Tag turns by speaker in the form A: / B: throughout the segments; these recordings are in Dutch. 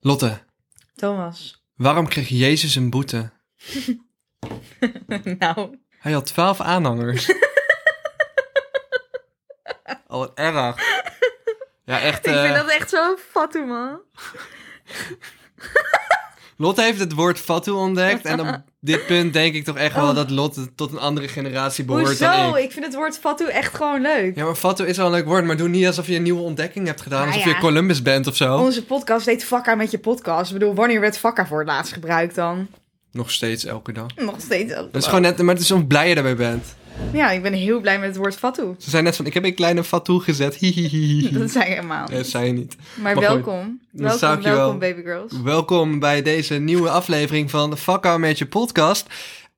A: Lotte,
B: Thomas.
A: waarom kreeg Jezus een boete?
B: nou,
A: Hij had twaalf aanhangers. oh, wat erg. Ja, echt.
B: ik
A: eh,
B: vind dat echt zo fatsoen, man.
A: Lotte heeft het woord fatu ontdekt. En op dit punt denk ik toch echt wel dat Lotte tot een andere generatie behoort dan
B: Oh. Hoezo?
A: ik.
B: Ik vind het woord fatsoen echt gewoon leuk.
A: Ja, maar fatu is wel een leuk woord, maar doe niet alsof je een nieuwe ontdekking hebt gedaan.
B: Nou
A: alsof
B: ja. Oh.
A: je Columbus bent of zo.
B: Onze podcast deed vakka met je podcast. Ik bedoel, wanneer werd vakka voor het laatst gebruikt dan?
A: Nog steeds elke dag.
B: Nog steeds. ook
A: Dat is
B: wel.
A: gewoon net, maar het is zo blij je daarbij bent.
B: Ja, ik ben heel blij met het woord fatsoen.
A: Ze zijn net van, ik heb een kleine fatu gezet. Hihihihi.
B: Dat zei ik helemaal.
A: Nee, dat zei je niet.
B: Maar
A: goed,
B: welkom.
A: Eh, dan zou ik je
B: welkom,
A: wel-
B: welkom, baby girls.
A: Welkom bij deze nieuwe aflevering van de Fuck Out Met Je podcast.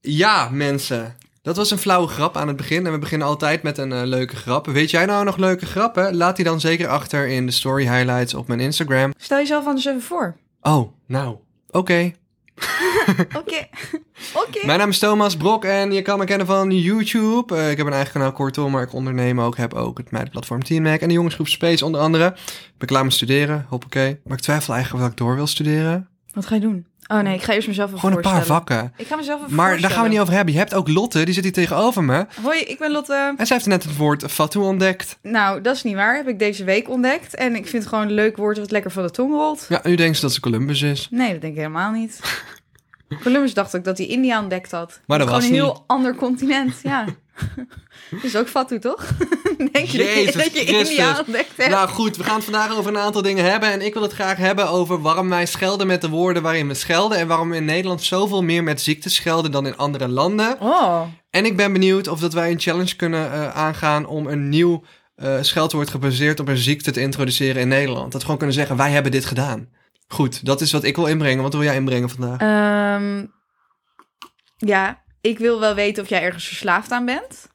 A: Ja, mensen. Dat was een flauwe grap aan het begin. En we beginnen altijd met een eh, leuke grap. Weet jij nou nog leuke grappen? Laat die dan zeker achter in de story highlights op mijn Instagram.
B: Stel jezelf anders even voor.
A: Oh, nou. Oké.
B: Oké. Oké.
A: Mijn naam is Thomas Brok en je kan me kennen van YouTube. Eh, ik heb een eigen kanaal, kortom, maar ik onderneem ook. Heb ook het meidenplatform Teamhack en de jongensgroep Space onder andere. Ik ben klaar met studeren, hoppakee. Maar ik twijfel eigenlijk of ik door wil studeren.
B: Wat ga je doen? Oh nee, ik ga eerst mezelf even
A: Gewoon een paar
B: voorstellen.
A: vakken.
B: Ik ga mezelf even
A: Maar daar gaan we niet
B: voorstellen.
A: over hebben. Je hebt ook Lotte, die zit hier tegenover me.
B: Hoi, ik ben Lotte.
A: En zij heeft net het woord fatu ontdekt.
B: Nou, dat is niet waar. Heb ik deze week ontdekt. En ik vind het gewoon een leuk woord wat lekker van de tong rolt.
A: Ja, nu denkt ze dat ze Columbus is.
B: Nee, dat denk ik helemaal niet. Columbus dacht ook dat hij India ontdekt had.
A: Maar dat
B: is
A: was
B: gewoon een heel ander continent, ja. dat is ook fatu, toch? denk je dat
A: Jezus
B: je, dat je
A: Christus.
B: India ontdekt hebt?
A: Nou goed, we gaan het vandaag over een aantal dingen hebben. En ik wil het graag hebben over waarom wij schelden met de woorden waarin we schelden. En waarom we in Nederland zoveel meer met ziektes schelden dan in andere landen.
B: Oh,
A: En ik ben benieuwd of dat wij een challenge kunnen eh, aangaan om een nieuw eh, scheldwoord gebaseerd op een ziekte te introduceren in Nederland. Dat we gewoon kunnen zeggen, wij hebben dit gedaan. Goed, dat is wat ik wil inbrengen. Wat wil jij inbrengen vandaag?
B: ehm, ja, ik wil wel weten of jij ergens verslaafd aan bent.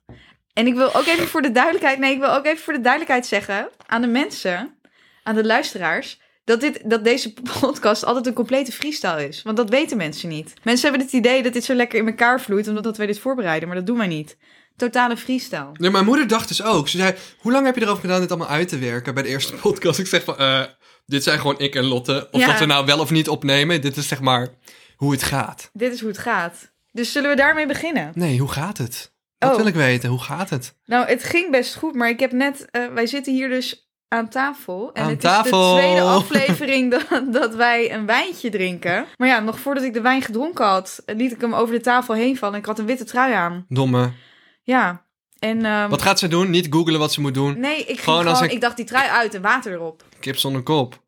B: En ik wil ook even voor de duidelijkheid, nee, ik wil ook even voor de duidelijkheid zeggen aan de mensen, aan de luisteraars, dat, dit, dat deze podcast altijd een complete freestyle is. Want dat weten mensen niet. Mensen hebben het idee dat dit zo lekker in elkaar vloeit, omdat dat wij dit voorbereiden, maar dat doen wij niet. Totale freestyle.
A: Nee, mijn moeder dacht dus ook. Ze zei, hoe lang heb je erover gedaan dit allemaal uit te werken bij de eerste podcast? Ik zeg van, eh, dit zijn gewoon ik en Lotte. Of
B: Ja.
A: dat we nou wel of niet opnemen, dit is zeg maar hoe het gaat.
B: Dit is hoe het gaat. Dus zullen we daarmee beginnen?
A: Nee, hoe gaat het? Dat
B: Oh.
A: wil ik weten, hoe gaat het?
B: Nou, het ging best goed, maar ik heb net. eh, wij zitten hier dus aan tafel. En
A: Aan
B: het
A: tafel.
B: is de tweede aflevering dat, dat wij een wijntje drinken. Maar ja, nog voordat ik de wijn gedronken had, eh, liet ik hem over de tafel heen vallen. Ik had een witte trui aan.
A: Domme.
B: Ja. En. ehm,
A: Wat gaat ze doen? Niet googelen wat ze moet doen.
B: Nee, ik, ging
A: Gewoon
B: gewoon
A: als ik-
B: ik dacht die trui uit en water erop.
A: Kip zonder kop.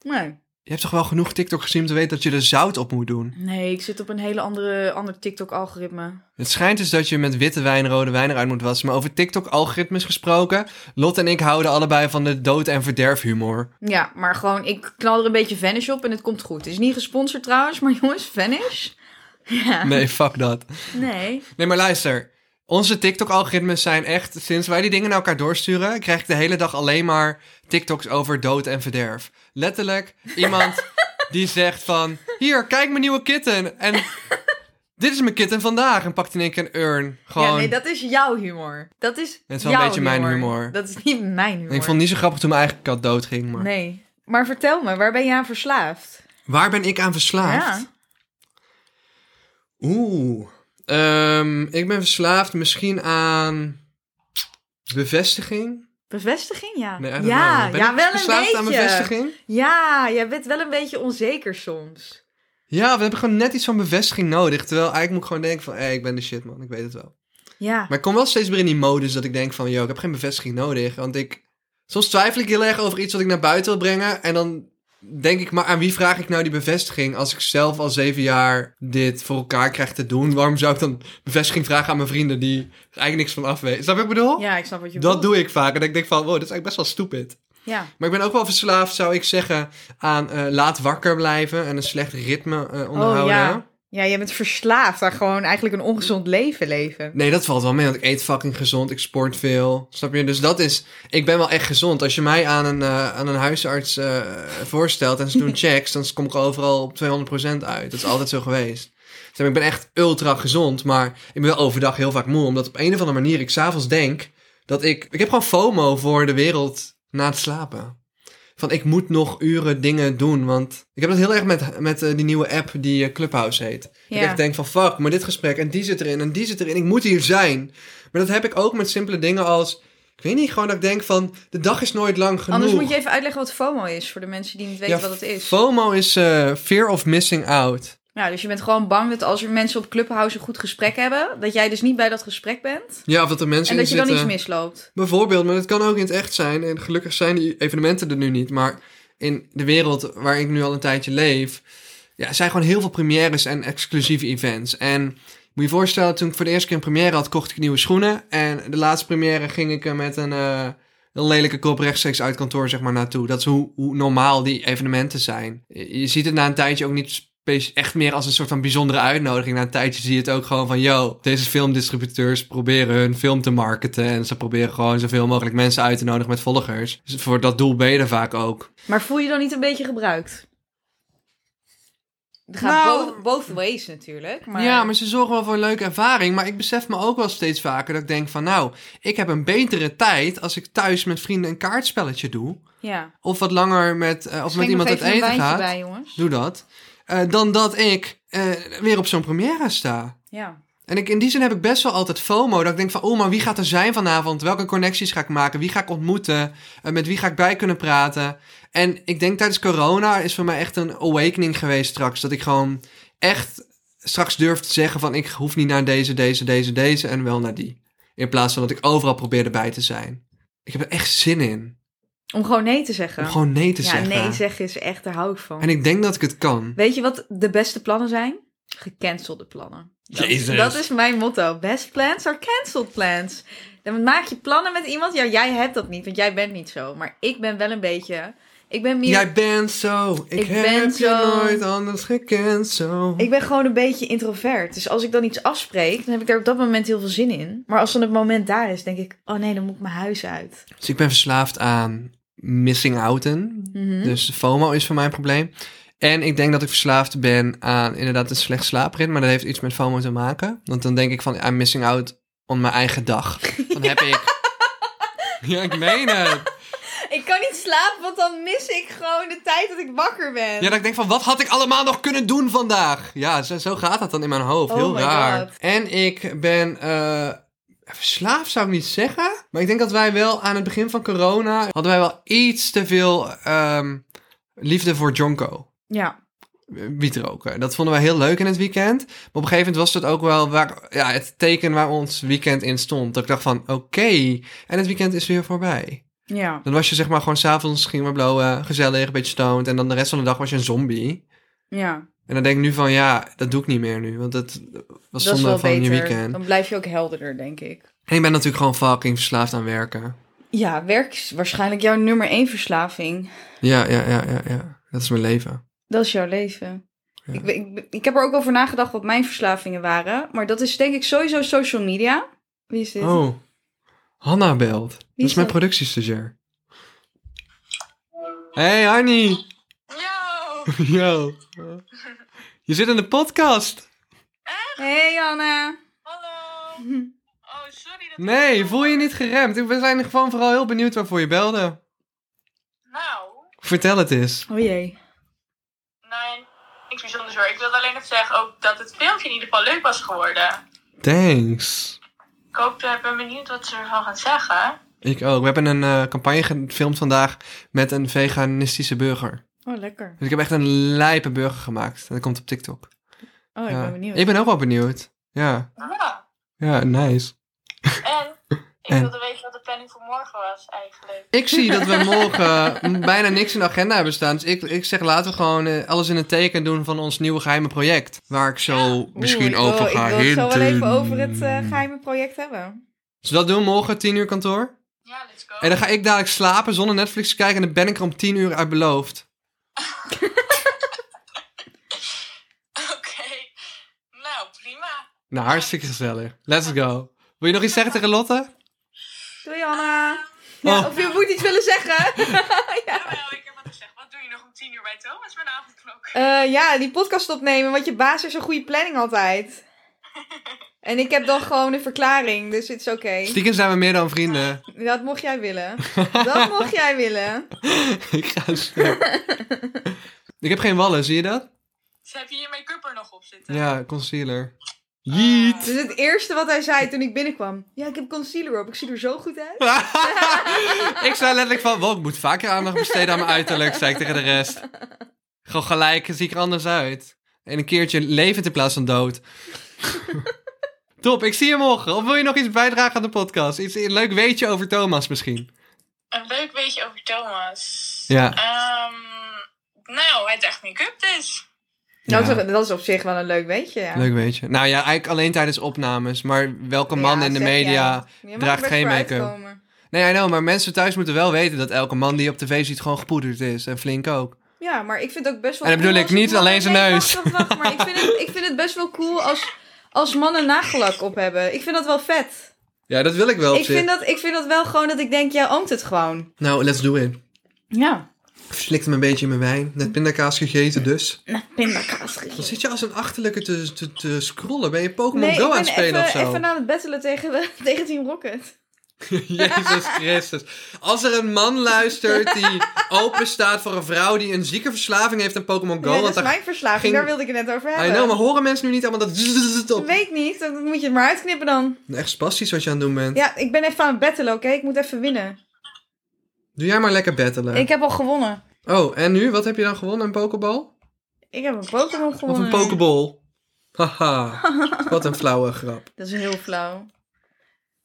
B: Nee.
A: Je hebt toch wel genoeg TikTok gezien om te weten dat je er zout op moet doen?
B: Nee, ik zit op een hele andere, ander TikTok-algoritme.
A: Het schijnt dus dat je met witte wijn rode wijn eruit moet wassen. Maar over TikTok-algoritmes gesproken, Lotte en ik houden allebei van de dood- en verderfhumor.
B: Ja, maar gewoon, ik knal er een beetje Vanish op en het komt goed. Het is niet gesponsord trouwens, maar jongens, Vanish? Ja.
A: Nee, fuck dat.
B: nee.
A: Nee, maar luister. Onze TikTok-algoritmes zijn echt, sinds wij die dingen naar elkaar doorsturen, krijg ik de hele dag alleen maar TikToks over dood en verderf. Letterlijk iemand die zegt van, hier, kijk mijn nieuwe kitten. En dit is mijn kitten vandaag. En pakt in één keer een urn. Gewoon.
B: Ja, nee, dat is jouw humor. Dat is.
A: Het is wel een
B: jouw
A: beetje mijn humor.
B: Dat is niet mijn humor.
A: En ik vond het niet zo grappig toen mijn eigen kat doodging. Maar...
B: Nee. Maar vertel me, waar ben je aan verslaafd?
A: Waar ben ik aan verslaafd?
B: Ja.
A: Oeh. Ehm, ik ben verslaafd misschien aan bevestiging.
B: Bevestiging, ja.
A: Nee, I don't
B: ja,
A: know. Ben
B: ja,
A: ik
B: wel een
A: verslaafd
B: beetje.
A: aan bevestiging?
B: Ja, jij bent wel een beetje onzeker soms.
A: Ja, we hebben gewoon net iets van bevestiging nodig. Terwijl eigenlijk moet ik gewoon denken van, hé, ik ben de shit, man. Ik weet het wel.
B: Ja.
A: Maar ik kom wel steeds meer in die modus dat ik denk van, yo, ik heb geen bevestiging nodig. Want ik, soms twijfel ik heel erg over iets wat ik naar buiten wil brengen. En dan denk ik, maar aan wie vraag ik nou die bevestiging? Als ik zelf al zeven jaar dit voor elkaar krijg te doen, waarom zou ik dan bevestiging vragen aan mijn vrienden die er eigenlijk niks van af weten? Snap je wat ik bedoel?
B: ja, ik snap wat je
A: dat
B: bedoelt.
A: doe ik vaak. En ik denk van, wow, dat is eigenlijk best wel stupid.
B: Ja.
A: Maar ik ben ook wel verslaafd, zou ik zeggen, aan eh, laat wakker blijven en een slecht ritme eh, onderhouden.
B: Oh ja. Ja, jij bent verslaafd aan gewoon eigenlijk een ongezond leven leven.
A: Nee, dat valt wel mee, want ik eet fucking gezond, ik sport veel. Snap je? Dus dat is... Ik ben wel echt gezond. Als je mij aan een, eh, aan een huisarts eh, voorstelt en ze doen checks, dan kom ik overal op 200% uit. Dat is altijd zo geweest. Dus ik ben echt ultra gezond, maar ik ben wel overdag heel vaak moe. Omdat op een of andere manier ik s'avonds denk dat ik... Ik heb gewoon FOMO voor de wereld na het slapen. van ik moet nog uren dingen doen. Want ik heb dat heel erg met, met eh, die nieuwe app die eh, Clubhouse heet. Dat
B: Ja.
A: ik echt denk van fuck, maar dit gesprek en die zit erin en die zit erin. Ik moet hier zijn. Maar dat heb ik ook met simpele dingen als... Ik weet niet, gewoon dat ik denk van de dag is nooit lang genoeg.
B: Anders moet je even uitleggen wat FOMO is voor de mensen die niet weten
A: Ja,
B: wat het is.
A: FOMO is eh, fear of missing out.
B: Nou, dus je bent gewoon bang dat als er mensen op Clubhouse een goed gesprek hebben, dat jij dus niet bij dat gesprek bent.
A: Ja, of dat er mensen
B: En dat je
A: in
B: dan iets
A: zitten.
B: misloopt.
A: Bijvoorbeeld, maar dat kan ook in het echt zijn. En gelukkig zijn die evenementen er nu niet. Maar in de wereld waar ik nu al een tijdje leef... Ja, er zijn gewoon heel veel premières en exclusieve events. En moet je je voorstellen, toen ik voor de eerste keer een première had... kocht ik nieuwe schoenen. En de laatste première ging ik er met een, eh, een lelijke kop rechtstreeks uit kantoor zeg maar, naartoe. Dat is hoe, hoe normaal die evenementen zijn. Je je ziet het na een tijdje ook niet... spe- Echt meer als een soort van bijzondere uitnodiging. Na een tijdje zie je het ook gewoon van: yo, deze filmdistributeurs proberen hun film te marketen. En ze proberen gewoon zoveel mogelijk mensen uit te nodigen met volgers. Dus voor dat doel ben je er vaak ook.
B: Maar voel je dan niet een beetje gebruikt? Het gaat
A: Nou-
B: both, both ways natuurlijk. Maar...
A: Ja, maar ze zorgen wel voor een leuke ervaring. Maar ik besef me ook wel steeds vaker dat ik denk van... nou, ik heb een betere tijd als ik thuis met vrienden een kaartspelletje doe.
B: Ja.
A: Of wat langer met, eh, of met
B: Schenk nog
A: iemand uit
B: even een
A: eten
B: wijntje
A: gaat.
B: bij, jongens.
A: Doe dat. Eh, dan dat ik eh, weer op zo'n première sta.
B: Ja.
A: En ik, in die zin heb ik best wel altijd FOMO. Dat ik denk van, oh, maar wie gaat er zijn vanavond? Welke connecties ga ik maken? Wie ga ik ontmoeten? Eh, met wie ga ik bij kunnen praten? En ik denk tijdens corona is voor mij echt een awakening geweest straks. Dat ik gewoon echt straks durf te zeggen van... ik hoef niet naar deze, deze, deze, deze en wel naar die. In plaats van dat ik overal probeer erbij te zijn. Ik heb er echt zin in.
B: Om gewoon nee te zeggen.
A: Om gewoon nee te
B: ja,
A: zeggen.
B: nee zeggen is echt, daar hou ik van.
A: En ik denk dat ik het kan.
B: Weet je wat de beste plannen zijn? Gecancelde plannen. Dat,
A: Jezus.
B: dat is mijn motto. Best plans are cancelled plans. Dan maak je plannen met iemand. Ja, jij hebt dat niet, want jij bent niet zo. Maar ik ben wel een beetje... Ik ben meer...
A: Jij bent zo, ik,
B: Ik
A: heb
B: ben
A: je
B: zo.
A: nooit anders gekend zo.
B: Ik ben gewoon een beetje introvert. Dus als ik dan iets afspreek, dan heb ik daar op dat moment heel veel zin in. Maar als dan het moment daar is, denk ik... Oh nee, dan moet ik mijn huis uit.
A: Dus ik ben verslaafd aan missing outen.
B: Mhm.
A: Dus FOMO is voor mij een probleem. En ik denk dat ik verslaafd ben aan inderdaad een slecht slaapritme. Maar dat heeft iets met FOMO te maken. Want dan denk ik van, I'm missing out on mijn eigen dag. Dan heb ik... Ja, ik meen het.
B: Ik kan niet slapen, want dan mis ik gewoon de tijd dat ik wakker ben.
A: Ja, dat ik denk van, wat had ik allemaal nog kunnen doen vandaag? Ja, zo, zo gaat dat dan in mijn hoofd.
B: Oh
A: Heel
B: my
A: raar.
B: God.
A: En ik ben eh verslaafd, zou ik niet zeggen. Maar ik denk dat wij wel aan het begin van corona... hadden wij wel iets te veel ehm, liefde voor Jonko.
B: ja.
A: Wiet roken. Dat vonden wij heel leuk in het weekend. Maar op een gegeven moment was dat ook wel waar, ja, het teken waar ons weekend in stond. Dat ik dacht van, oké, en het weekend is weer voorbij.
B: ja.
A: Dan was je zeg maar gewoon s'avonds ging we blowen, gezellig, een beetje stoned. En dan de rest van de dag was je een zombie.
B: Ja.
A: En dan denk ik nu van, ja, dat doe ik niet meer nu. Want dat was
B: Dat is wel
A: zonde van je
B: beter.
A: weekend.
B: Dan blijf je ook helderder, denk ik.
A: En ik ben natuurlijk gewoon fucking verslaafd aan werken.
B: Ja, werk is waarschijnlijk jouw nummer één verslaving.
A: Ja, ja, ja, ja, ja. Dat is mijn leven.
B: Dat is jouw leven.
A: Ja.
B: Ik, ik, ik heb er ook over nagedacht wat mijn verslavingen waren. Maar dat is denk ik sowieso social media. Wie is dit?
A: Oh, Hanna belt. dat is
B: is
A: mijn
B: dat?
A: productiestagiair. Hey, Arnie.
C: Yo!
A: Yo. Je zit in de podcast.
B: Hey Anna.
C: Hallo! Oh, sorry dat ik-
A: Nee, voel je niet geremd. Ik- We zijn gewoon vooral heel benieuwd waarvoor je belde.
C: Nou,
A: Vertel het eens.
B: Oh jee.
C: nee, niks bijzonders hoor. Ik wilde alleen nog zeggen ook dat het filmpje in ieder geval leuk was geworden.
A: Thanks.
C: Ik hoop, ik ben benieuwd wat ze ervan gaan zeggen.
A: Ik ook. We hebben een eh, campagne gefilmd vandaag met een veganistische burger.
B: Oh, lekker.
A: Dus ik heb echt een lijpe burger gemaakt. En dat komt op TikTok.
B: Oh, ik
A: Ja.
B: ben benieuwd.
A: Ik ben ook wel benieuwd. Ja,
C: Ja,
A: ja nice.
C: en ik
A: En?
C: wilde weten wat de planning voor morgen was eigenlijk.
A: Ik zie dat we morgen mm, bijna niks in de agenda hebben staan. Dus ik, ik zeg laten we gewoon eh, alles in het teken doen van ons nieuwe geheime project. Waar ik zo misschien
B: Oeh, ik wil-
A: over ga
B: Ik wil het zo wel even
A: hinten.
B: over het eh, geheime project hebben.
A: Dus dat doen we morgen, 10 uur kantoor.
C: Ja, let's go.
A: En dan ga ik dadelijk slapen zonder Netflix te kijken. En dan ben ik er om 10 uur uit beloofd.
C: Oké. Nou, prima.
A: Nou, hartstikke gezellig. Let's go. Wil je nog iets zeggen tegen Lotte?
B: Doei Anna. Ja,
A: Oh.
B: Of je moet iets willen zeggen. ja.
C: Jawel, ik heb wat gezegd. Wat doe je nog om tien uur bij Thomas met een avondklok?
B: Eh, ja, die podcast opnemen, want je baas is een goede planning altijd. En ik heb dan gewoon een verklaring, dus het is oké.
A: Stiekem zijn we meer dan vrienden.
B: Dat mocht jij willen. Dat mocht jij willen.
A: ik ga stuk. ik heb geen wallen, zie je dat?
C: Dus heb je je make-up er nog op zitten?
A: Ja, concealer. Jeet.
B: Dus het eerste wat hij zei toen ik binnenkwam. Ja, ik heb concealer op. Ik zie er zo goed uit.
A: ik zei letterlijk van, wow, ik moet vaker aandacht besteden aan mijn uiterlijk, zei ik tegen de rest. Gewoon gelijk, zie ik er anders uit. En een keertje levend in plaats van dood. Top, ik zie je morgen. Of wil je nog iets bijdragen aan de podcast? Iets een leuk weetje over Thomas misschien?
C: Een leuk beetje over Thomas.
A: Ja.
C: Ehm, nou, hij heeft echt make-up dus.
B: Nou,
A: Ja,
B: dat is- dat is op zich wel een leuk weetje, ja.
A: Leuk weetje. Nou ja, eigenlijk alleen tijdens opnames. Maar welke
B: Ja,
A: man in de
B: zeg jij.
A: media...
B: Je mag er
A: draagt
B: best
A: geen
B: voor
A: make-up.
B: uitkomen.
A: Nee, I know, maar mensen thuis moeten wel weten dat elke man die je op tv ziet gewoon gepoederd is. En flink ook.
B: Ja, maar ik vind het ook best wel
A: En dan bedoel
B: cool
A: ik
B: als
A: niet
B: mannen-
A: alleen zijn
B: Nee,
A: neus.
B: Wacht, wacht, wacht, maar ik vind, het, ik vind het best wel cool als, als mannen nagellak op hebben. Ik vind dat wel vet.
A: Ja, dat wil ik wel op
B: Ik
A: zich.
B: vind, dat, ik vind dat wel gewoon dat ik denk, jij oomt het gewoon.
A: Nou, let's do it.
B: Ja.
A: Ik slikte me een beetje in mijn wijn. Net pindakaas gegeten dus.
B: Nou, Pindakaas
A: Dan
B: gegeten.
A: zit je als een achterlijke te, te, te scrollen. Ben je Pokémon
B: Nee, ik
A: Go aan
B: ben
A: het spelen
B: even,
A: of zo?
B: even aan het battelen tegen, tegen Team Rocket.
A: Jezus Christus. Als er een man luistert die open staat voor een vrouw die een zieke verslaving heeft aan Pokémon Go.
B: Ja, dat
A: want
B: is mijn verslaving,
A: ging-
B: daar wilde ik het net over
A: I
B: hebben.
A: know, maar horen mensen nu niet allemaal dat zzzz op?
B: Weet niet, dan moet je het maar uitknippen dan.
A: Echt spastisch wat je aan het doen bent.
B: Ja, ik ben even aan het battelen, oké? Ik moet even winnen.
A: Doe jij maar lekker battelen.
B: Ik heb al gewonnen.
A: Oh, en nu? Wat heb je dan gewonnen? Een pokebal?
B: Ik heb een Pokémon
A: Of
B: gewonnen.
A: een pokeball? Haha. Wat een flauwe grap.
B: Dat is heel flauw.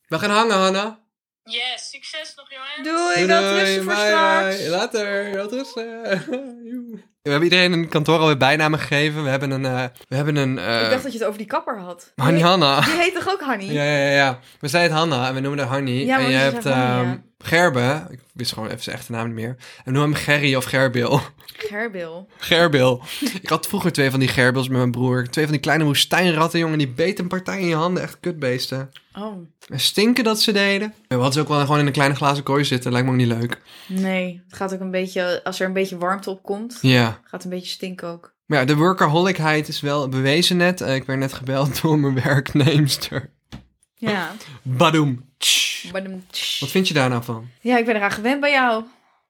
A: We gaan hangen, Hanna.
C: Yes, succes nog jongens.
B: Doei, dat rusten voor
A: bye,
B: straks.
A: bye. Later. Dat rustig. Joe. We hebben iedereen in het kantoor alweer bijnamen gegeven. We hebben een... eh, we hebben een eh,
B: Ik dacht dat je het over die kapper had.
A: Hanni
B: Die-
A: Hanna.
B: Die heet toch ook Hanny?
A: Ja, ja, ja, ja. We zeiden het Hanna en we noemen haar Hanni.
B: Ja,
A: en
B: maar
A: je
B: ze
A: hebt
B: zei Hanni,
A: ehm,
B: ja.
A: Gerbe. Ik wist gewoon even zijn echte naam niet meer. En we noemen hem Gerry of Gerbil.
B: Gerbil.
A: Gerbil. Ik had vroeger twee van die gerbils met mijn broer. Twee van die kleine woestijnratten, jongen. Die beten een partij in je handen. Echt kutbeesten.
B: Oh,
A: En stinken dat ze deden. We hadden ze ook wel gewoon in een kleine glazen kooi zitten. Lijkt me ook niet leuk.
B: nee. Het gaat ook een beetje, als er een beetje warmte op komt,
A: Ja.
B: gaat het een beetje stinken ook.
A: Maar ja, de workaholicheid is wel bewezen net. Eh, ik werd net gebeld door mijn werkneemster.
B: Ja.
A: Badoem. Tsch.
B: Maar dan- tsch.
A: Wat vind je daar nou van?
B: Ja, ik ben eraan gewend bij jou.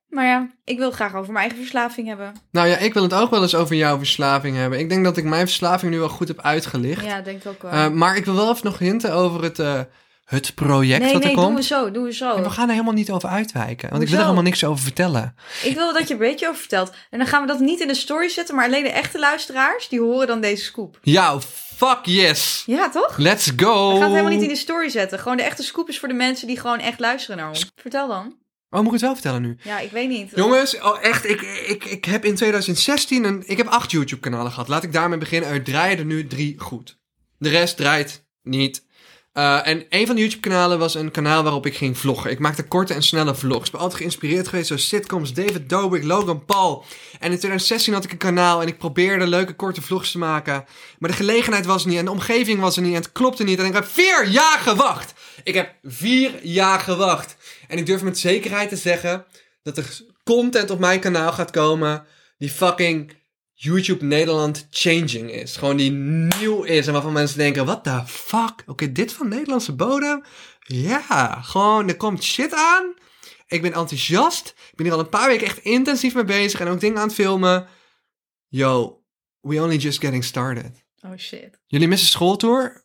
B: Maar ja, ik wil het graag over mijn eigen verslaving hebben.
A: Nou ja, ik wil het ook wel eens over jouw verslaving hebben. Ik denk dat ik mijn verslaving nu wel goed heb uitgelicht.
B: Ja, denk ik ook wel.
A: Eh, maar ik wil wel even nog hinten over het, eh, het project
B: nee,
A: wat er
B: nee,
A: komt.
B: doen we zo, doen we zo.
A: En we gaan er helemaal niet over uitwijken. Want ik wil
B: Oh. Hoezo?
A: er helemaal niks over vertellen.
B: Ik wil dat je er een beetje over vertelt. En dan gaan we dat niet in de story zetten, maar alleen de echte luisteraars, die horen dan deze scoop.
A: Ja, fuck yes.
B: Ja, toch?
A: Let's go.
B: We gaan het helemaal niet in de story zetten. Gewoon de echte scoop is voor de mensen die gewoon echt luisteren naar ons. Vertel dan.
A: Oh, moet ik het wel vertellen nu?
B: Ja, ik weet niet.
A: Jongens, oh echt, ik, ik, ik heb in 2016 een... Ik heb acht YouTube-kanalen gehad. Laat ik daarmee beginnen. Er draaien er nu drie goed. De rest draait niet. Eh, en een van de YouTube-kanalen was een kanaal waarop ik ging vloggen. Ik maakte korte en snelle vlogs. Ik ben altijd geïnspireerd geweest door sitcoms, David Dobrik, Logan Paul. En in 2016 had ik een kanaal en ik probeerde leuke korte vlogs te maken. Maar de gelegenheid was er niet en de omgeving was er niet en het klopte niet. En ik heb vier jaar gewacht. Ik heb vier jaar gewacht. En ik durf met zekerheid te zeggen dat er content op mijn kanaal gaat komen die fucking YouTube Nederland changing is. Gewoon die nieuw is en waarvan mensen denken, what the fuck? Oké, dit van Nederlandse bodem? Ja, gewoon, er komt shit aan. Ik ben enthousiast. Ik ben hier al een paar weken echt intensief mee bezig en ook dingen aan het filmen. Yo, we only just getting started.
B: Oh shit.
A: Jullie missen schooltour,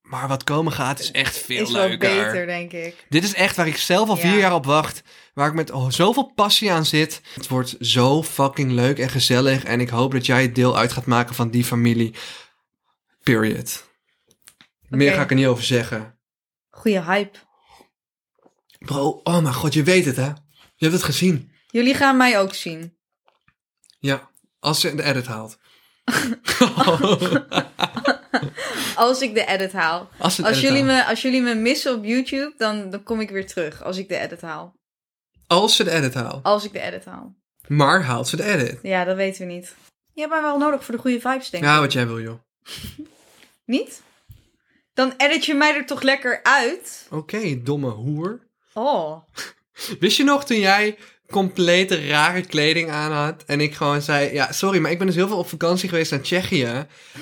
A: maar wat komen gaat is echt veel
B: is wel
A: leuker.
B: beter, denk ik.
A: Dit is echt waar ik zelf al
B: Ja.
A: vier jaar op wacht. Waar ik met oh, zoveel passie aan zit. Het wordt zo fucking leuk en gezellig. En ik hoop dat jij het deel uit gaat maken van die familie. Period. Meer
B: Oké.
A: ga ik er niet over zeggen.
B: Goeie hype.
A: Bro, oh mijn god, je weet het hè. Je hebt het gezien.
B: Jullie gaan mij ook zien.
A: Ja, als ze de edit haalt.
B: Als ik de edit haal.
A: als ze de
B: Als
A: edit
B: jullie,
A: haalt.
B: me, als jullie me missen op YouTube, dan, dan kom ik weer terug. Als ik de edit haal.
A: Als ze de edit haalt.
B: Als ik de edit haal.
A: Maar haalt ze de edit.
B: Ja, dat weten we niet. Je hebt mij wel nodig voor de goede vibes, denk ik.
A: Ja, wat jij wil joh.
B: Niet? Dan edit je mij er toch lekker uit?
A: Oké, domme hoer.
B: Oh.
A: Wist je nog toen jij complete rare kleding aan had. En ik gewoon zei, ja, sorry, maar ik ben dus heel veel op vakantie geweest naar Tsjechië.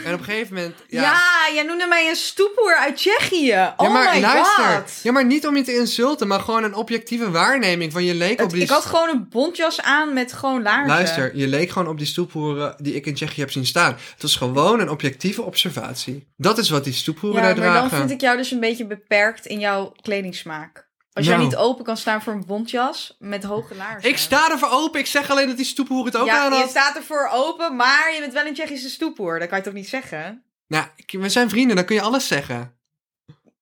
A: En op een gegeven moment,
B: Ja.
A: ja...
B: jij noemde mij een stoepoer uit Tsjechië. Oh
A: ja, maar
B: my
A: luister.
B: god.
A: Ja, maar niet om je te insulten, maar gewoon een objectieve waarneming van je leek op
B: Het-
A: die...
B: ik had gewoon een bontjas aan met gewoon laarzen.
A: Luister, je leek gewoon op die stoephoeren die ik in Tsjechië heb zien staan. Het was gewoon een objectieve observatie. Dat is wat die stoephoeren
B: Ja,
A: daar
B: maar
A: dragen.
B: dan vind ik jou dus een beetje beperkt in jouw kledingsmaak. Als jij
A: Nou.
B: niet open kan staan voor een bontjas met hoge laarzen.
A: Ik sta er voor open. Ik zeg alleen dat die stoephoer het ook
B: ja,
A: aan
B: je
A: had.
B: staat ervoor open, maar je bent wel een Tsjechische stoepoer. Dat kan je toch niet zeggen?
A: Nou, ik- we zijn vrienden, dan kun je alles zeggen.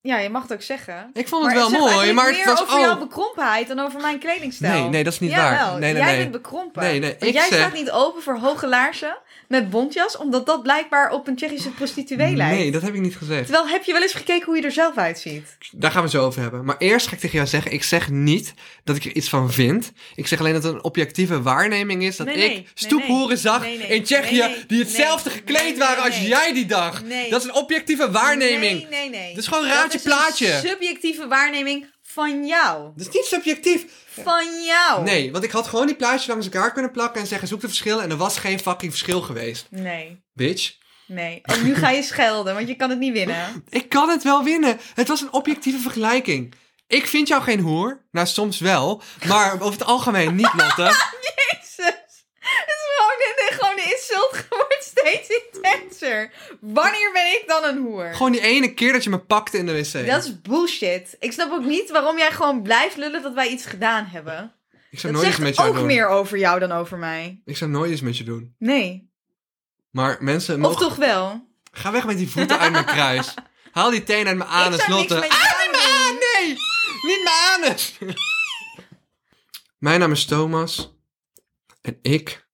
B: Ja, je mag het ook zeggen.
A: Ik vond het
B: Maar
A: wel
B: zegt
A: mooi,
B: eigenlijk
A: maar het
B: meer
A: was oh.
B: over jouw
A: ook...
B: bekrompenheid dan over mijn kledingstijl.
A: Nee, nee, dat is niet
B: Jawel,
A: waar. Nee, nee,
B: jij
A: nee.
B: bent bekrompen.
A: Nee, nee,
B: Want
A: ik
B: jij
A: zeg-
B: staat niet open voor hoge laarzen met bontjas, omdat dat blijkbaar op een Tsjechische prostituee lijkt.
A: Nee, dat heb ik niet gezegd.
B: Terwijl heb je wel eens gekeken hoe je er zelf uitziet?
A: Daar gaan we het zo over hebben. Maar eerst ga ik tegen jou zeggen, ik zeg niet dat ik er iets van vind. Ik zeg alleen dat het een objectieve waarneming is dat
B: Nee, nee, nee,
A: ik stoephoeren
B: nee.
A: zag
B: Nee, nee,
A: in Tsjechië
B: nee, nee,
A: die hetzelfde
B: nee,
A: gekleed
B: nee, nee,
A: waren als
B: nee.
A: jij die dag.
B: Nee.
A: Dat is een objectieve waarneming.
B: Nee, nee, nee.
A: Dat is gewoon raadje plaatje.
B: Dat is een subjectieve waarneming van jou.
A: Dat is niet subjectief.
B: Van jou.
A: Nee, want ik had gewoon die plaatjes langs elkaar kunnen plakken en zeggen zoek de verschillen en er was geen fucking verschil geweest.
B: Nee.
A: Bitch.
B: Nee. Oh, nu ga je schelden, want je kan het niet winnen.
A: Ik kan het wel winnen. Het was een objectieve vergelijking. Ik vind jou geen hoer. Nou, soms wel. Maar over het algemeen niet, Lotte.
B: Jezus. Het is gewoon de, de- gewoon de insult wordt steeds intenser. Wanneer ben ik dan een hoer?
A: Gewoon die ene keer dat je me pakte in de wc.
B: Dat is bullshit. Ik snap ook niet waarom jij gewoon blijft lullen dat wij iets gedaan hebben.
A: Ik zou
B: Dat
A: nooit iets met
B: zegt
A: jou
B: ook
A: doen.
B: meer over jou dan over mij.
A: Ik zou nooit iets met je doen.
B: Nee.
A: Maar mensen,
B: Of
A: mogen...
B: toch wel?
A: ga weg met die voeten uit mijn kruis. Haal die teen uit mijn
B: ik
A: anus,
B: zou niks
A: Lotte.
B: met jou doen.
A: Ah, nee! Niet mijn anus! mijn naam is Thomas. En ik...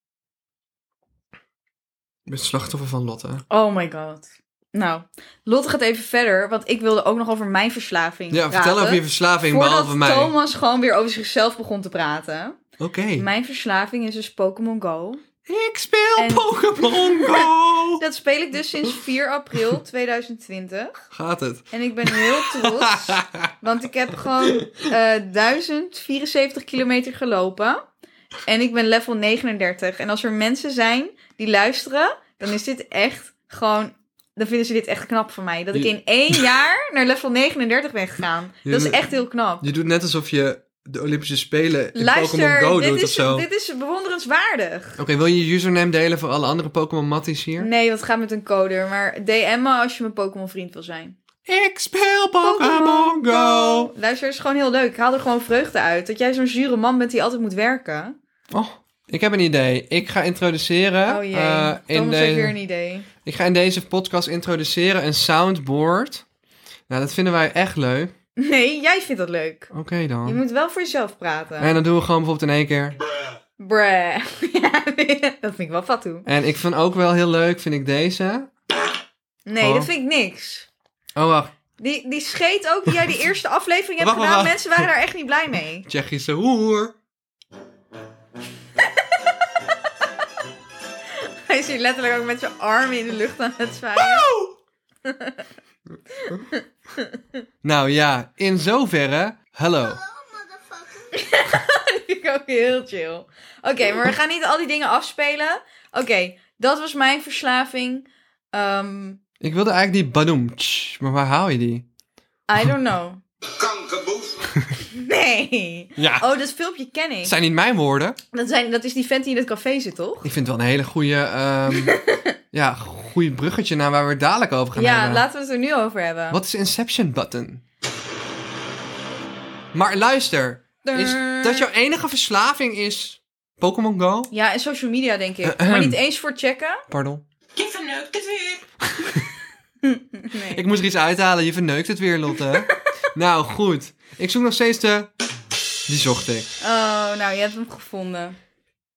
A: ben slachtoffer van Lotte.
B: Oh my god. Nou, Lotte gaat even verder, want ik wilde ook nog over mijn verslaving
A: Ja,
B: praten.
A: vertel over je verslaving, behalve
B: Voordat
A: mij.
B: Thomas gewoon weer over zichzelf begon te praten.
A: Oké.
B: Mijn verslaving is dus Pokémon Go.
A: Ik speel
B: En-
A: Pokémon Go!
B: Dat speel ik dus sinds 4 april 2020.
A: Gaat het?
B: En ik ben heel trots, want ik heb gewoon eh 1074 kilometer gelopen. En ik ben level 39. En als er mensen zijn die luisteren, dan is dit echt gewoon... Dan vinden ze dit echt knap van mij. Dat ik
A: Je-
B: in één jaar naar level 39 ben gegaan.
A: Je-
B: Dat is echt heel knap.
A: je doet net alsof je de Olympische Spelen in Pokémon
B: Luister,
A: Go
B: dit,
A: doet of
B: is,
A: zo.
B: dit is bewonderenswaardig.
A: Oké, wil je je username delen voor alle andere Pokémon Matties hier?
B: Nee, dat gaat met een coder. Maar DM me als je mijn Pokémon vriend wil zijn.
A: Ik speel Pokémon Go!
B: Luister, het is gewoon heel leuk. Ik haal er gewoon vreugde uit. Dat jij zo'n zure man bent die altijd moet werken.
A: Oh, ik heb een idee. Ik ga introduceren...
B: oh jee,
A: eh, in
B: Thomas heeft
A: deze-
B: weer een idee.
A: Ik ga in deze podcast introduceren een soundboard. Nou, dat vinden wij echt leuk.
B: Nee, jij vindt dat leuk.
A: Oké
B: Je
A: dan.
B: moet wel voor jezelf praten.
A: En dan doen we gewoon bijvoorbeeld in één keer.
B: Bruh. Ja, dat vind ik wel fat toe.
A: En ik vind ook wel heel leuk, vind ik deze.
B: Nee,
A: Oh.
B: dat vind ik niks.
A: Oh, wacht.
B: Die, die scheet ook die jij de eerste aflevering hebt
A: Wacht, wacht,
B: gedaan.
A: wacht.
B: Mensen waren daar echt niet blij mee.
A: Tsjechische hoer.
B: Hij zit letterlijk ook met zijn armen in de lucht aan het
A: Ah!
B: zwaaien.
A: Nou ja, in zoverre. Hallo.
B: Dat vind ik ook heel chill. Oké, maar we gaan niet al die dingen afspelen. Oké, dat was mijn verslaving. Ehm
A: Ik wilde eigenlijk die badoemtsch, maar waar haal je die?
B: I don't know.
D: Kankerboef.
B: Nee.
A: Ja.
B: Oh, dat filmpje ken ik.
A: Het zijn niet mijn woorden.
B: Dat, zijn, dat is die vent die in het café zit, toch?
A: Ik vind het wel een hele goede, ehm, ja, goeie bruggetje naar waar we het dadelijk over gaan
B: Ja,
A: hebben.
B: laten we het er nu over hebben.
A: Wat is Inception Button? Maar luister, is dat jouw enige verslaving is Pokémon Go?
B: Ja, en social media, denk ik. Maar niet eens voor checken.
A: Pardon.
D: Je verneukt het weer.
B: Nee.
A: Ik moest er iets uithalen, je verneukt het weer, Lotte. nou, goed. Ik zoek nog steeds de... Die zocht ik.
B: Oh, nou, je hebt hem gevonden.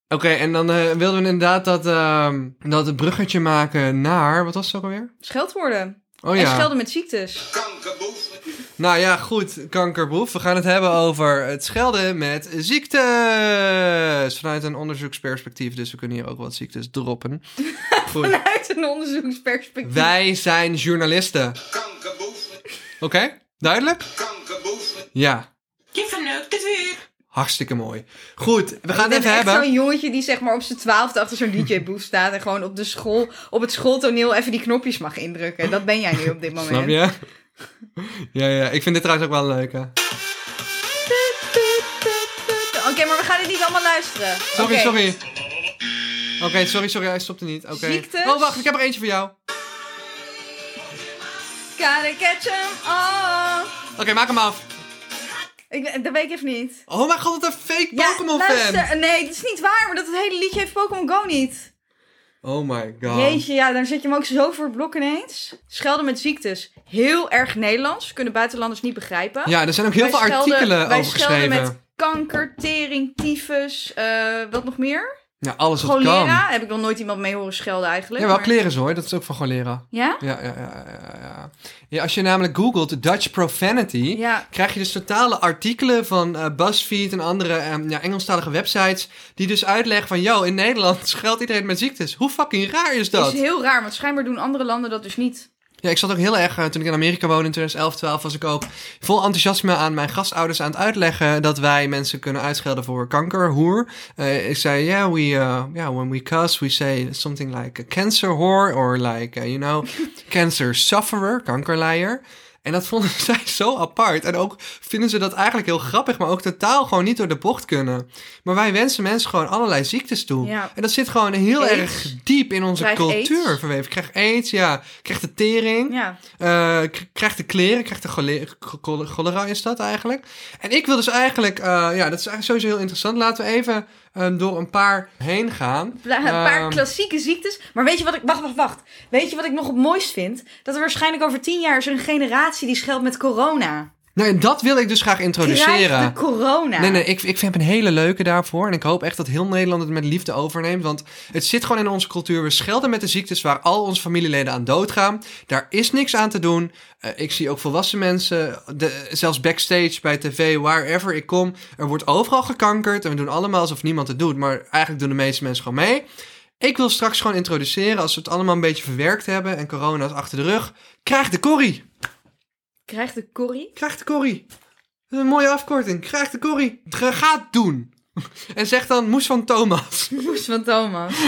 A: Oké, en dan eh, wilden we inderdaad dat, ehm dat bruggetje maken naar... Wat was het ook alweer?
B: Scheldwoorden.
A: Oh
B: En
A: ja.
B: schelden met ziektes.
D: Kankerboef.
A: Nou ja, goed, kankerboef. We gaan het hebben over het schelden met ziektes. Vanuit een onderzoeksperspectief, dus we kunnen hier ook wat ziektes droppen. Goed.
B: Uit een onderzoeksperspectief.
A: Wij zijn journalisten.
D: Kankerboef.
A: Oké? Duidelijk?
D: Kankerboef.
A: Ja.
D: Je verneukt het weer.
A: Hartstikke mooi. Goed, we gaan
B: Ik
A: het
B: ben
A: even
B: echt
A: hebben.
B: Zo'n jongetje die zeg maar op zijn twaalfde achter zo'n DJ-boef staat en gewoon op de school, op het schooltoneel even die knopjes mag indrukken. Dat ben jij nu op dit moment.
A: Snap je? ja, ja, ik vind dit trouwens ook wel een leuke.
B: Oké, maar we gaan dit niet allemaal luisteren.
A: Sorry,
B: Oké.
A: sorry. Oké, sorry, sorry, hij stopte niet. Oké.
B: Ziektes?
A: Oh, wacht, ik heb er eentje voor jou.
B: Gotta catch 'em all.
A: Oké, maak hem af.
B: Ik, ben- dat weet ik even niet.
A: Oh mijn god, wat een fake Pokémon fan.
B: luister. Nee, dat is niet waar, maar dat het hele liedje heeft Pokémon Go niet.
A: Oh my god.
B: Jeetje, ja, dan zet je hem ook zo voor het blok ineens. Schelden met ziektes. Heel erg Nederlands. Kunnen buitenlanders niet begrijpen.
A: Ja, er zijn ook heel
B: Wij
A: veel
B: schelden-
A: artikelen
B: wij
A: over
B: schelden
A: geschreven.
B: met kanker, tering, tyfus, eh, wat nog meer?
A: Ja, alles wat kan.
B: Cholera.
A: Ja,
B: Heb ik nog nooit iemand mee horen schelden eigenlijk.
A: wel
B: maar-
A: kleren hoor, dat is ook van cholera.
B: Ja?
A: Ja, ja, ja, ja, ja. ja als je namelijk googelt Dutch profanity,
B: Ja.
A: krijg je dus totale artikelen van eh, BuzzFeed en andere eh, ja, Engelstalige websites, die dus uitleggen van, yo, in Nederland scheldt iedereen met ziektes. Hoe fucking raar is dat?
B: is heel raar, want schijnbaar doen andere landen dat dus niet.
A: Ja, ik zat ook heel erg, eh, toen ik in Amerika woonde in 2011, 12, was ik ook vol enthousiasme aan mijn gastouders aan het uitleggen dat wij mensen kunnen uitschelden voor kanker, hoer. Eh, ik zei, yeah, we, eh, yeah, when we cuss, we say something like a cancer whore or like, eh, you know, cancer sufferer, kankerleier. En dat vonden zij zo apart. En ook vinden ze dat eigenlijk heel grappig, maar ook totaal gewoon niet door de bocht kunnen. Maar wij wensen mensen gewoon allerlei ziektes toe.
B: Ja.
A: En dat zit gewoon heel
B: Aids.
A: erg diep in onze
B: Krijg
A: cultuur
B: aids.
A: verweven. Ik krijg aids, ja. Ik krijg de tering.
B: Ja.
A: Eh, k- krijgt de kleren, krijgt de chole- cho- chole- cholera is dat eigenlijk. En ik wil dus eigenlijk, eh, ja, dat is eigenlijk sowieso heel interessant. Laten we even ehm, door een paar heen gaan.
B: Pla- Een paar
A: Ehm,
B: klassieke ziektes. Maar weet je wat ik. Wacht, wacht, wacht. Weet je wat ik nog het mooist vind? Dat er waarschijnlijk over tien jaar is er een generatie die scheldt met corona.
A: Nou, en dat wil ik dus graag
B: Krijg de
A: introduceren.
B: corona.
A: Nee, nee, ik, ik vind hem een hele leuke daarvoor. En ik hoop echt dat heel Nederland het met liefde overneemt. Want het zit gewoon in onze cultuur. We schelden met de ziektes waar al onze familieleden aan doodgaan. Daar is niks aan te doen. Eh, ik zie ook volwassen mensen, de, zelfs backstage bij tv, wherever ik kom. Er wordt overal gekankerd. En we doen allemaal alsof niemand het doet. Maar eigenlijk doen de meeste mensen gewoon mee. Ik wil straks gewoon introduceren, als we het allemaal een beetje verwerkt hebben en corona is achter de rug. Krijg de korrie!
B: Krijgt de corrie?
A: Krijg de korrie. Dat is een mooie afkorting. Krijg de korrie. Ga gaat doen. En zeg dan moes van Thomas.
B: Moes van Thomas.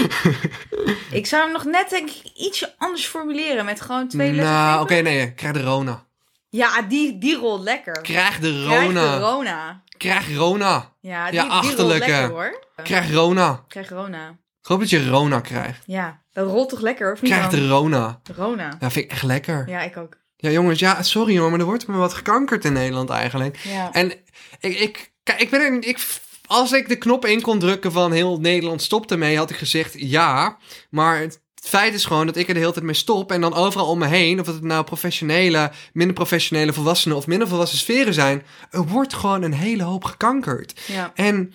B: ik zou hem nog net denk ik ietsje anders formuleren met gewoon twee
A: nou,
B: lettergrepen.
A: oké, nee. Krijg de Rona.
B: Ja, die, die rolt lekker.
A: Krijg de
B: Krijg de
A: Rona.
B: Rona.
A: Krijg Rona.
B: Ja, die,
A: Ja,
B: die rolt
A: achterlijke.
B: lekker hoor.
A: Krijg Rona.
B: Krijg Rona.
A: Ik hoop dat je Rona krijgt.
B: Ja, dat rolt toch lekker of niet
A: Krijg
B: dan?
A: de Rona.
B: Rona.
A: Ja, vind ik echt lekker.
B: Ja, ik ook.
A: Ja, jongens, ja, sorry hoor, maar er wordt me wat gekankerd in Nederland eigenlijk.
B: Ja.
A: En ik, ik, kijk, ik ben er, ik, als ik de knop in kon drukken van heel Nederland stopt ermee, had ik gezegd ja. Maar het feit is gewoon dat ik er de hele tijd mee stop. En dan overal om me heen, of het nou professionele, minder professionele volwassenen of minder volwassen sferen zijn, er wordt gewoon een hele hoop gekankerd.
B: ja.
A: En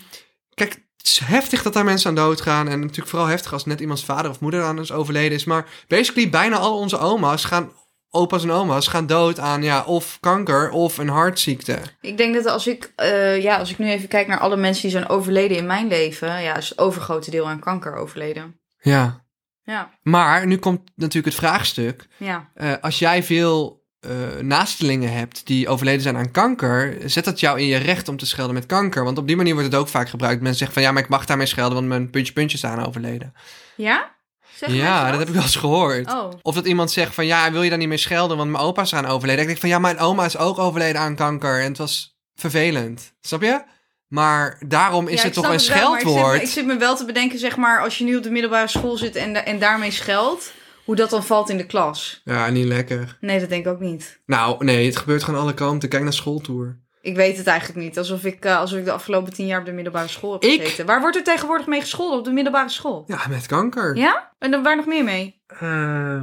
A: kijk, het is heftig dat daar mensen aan dood gaan. En natuurlijk vooral heftig als net iemands vader of moeder aan is overleden is. Maar basically bijna al onze oma's gaan, opa's en oma's gaan dood aan ja, of kanker of een hartziekte.
B: Ik denk dat als ik, eh, ja, als ik nu even kijk naar alle mensen die zijn overleden in mijn leven, ja, is het overgrote deel aan kanker overleden.
A: Ja.
B: Ja,
A: Maar nu komt natuurlijk het vraagstuk.
B: ja.
A: Eh, als jij veel eh, naastelingen hebt die overleden zijn aan kanker, zet dat jou in je recht om te schelden met kanker. Want op die manier wordt het ook vaak gebruikt. Mensen zeggen van ja, maar ik mag daarmee schelden, want mijn puntje puntjes aan overleden.
B: Ja? Zeg
A: ja,
B: mensen
A: dat heb ik wel eens gehoord.
B: Oh,
A: Of dat iemand zegt van ja, wil je daar niet mee schelden, want mijn opa is eraan overleden. Ik denk van ja, mijn oma is ook overleden aan kanker en het was vervelend. Snap je? Maar daarom is
B: Ja, ik
A: het toch
B: snap
A: een
B: wel, maar ik zit me-
A: scheldwoord.
B: Ik zit, me wel te bedenken, zeg maar, als je nu op de middelbare school zit en, da- en daarmee scheldt, hoe dat dan valt in de klas.
A: Ja, niet lekker.
B: Nee, dat denk ik ook niet.
A: Nou, nee, het gebeurt gewoon alle kanten. Kijk naar schooltour.
B: Ik weet het eigenlijk niet. Alsof ik, eh, alsof ik de afgelopen tien jaar op de middelbare school heb
A: Ik-
B: gezeten. Waar wordt er tegenwoordig mee gescholden op de middelbare school?
A: Ja, met kanker.
B: Ja? En dan waar nog meer mee?
A: Ehm,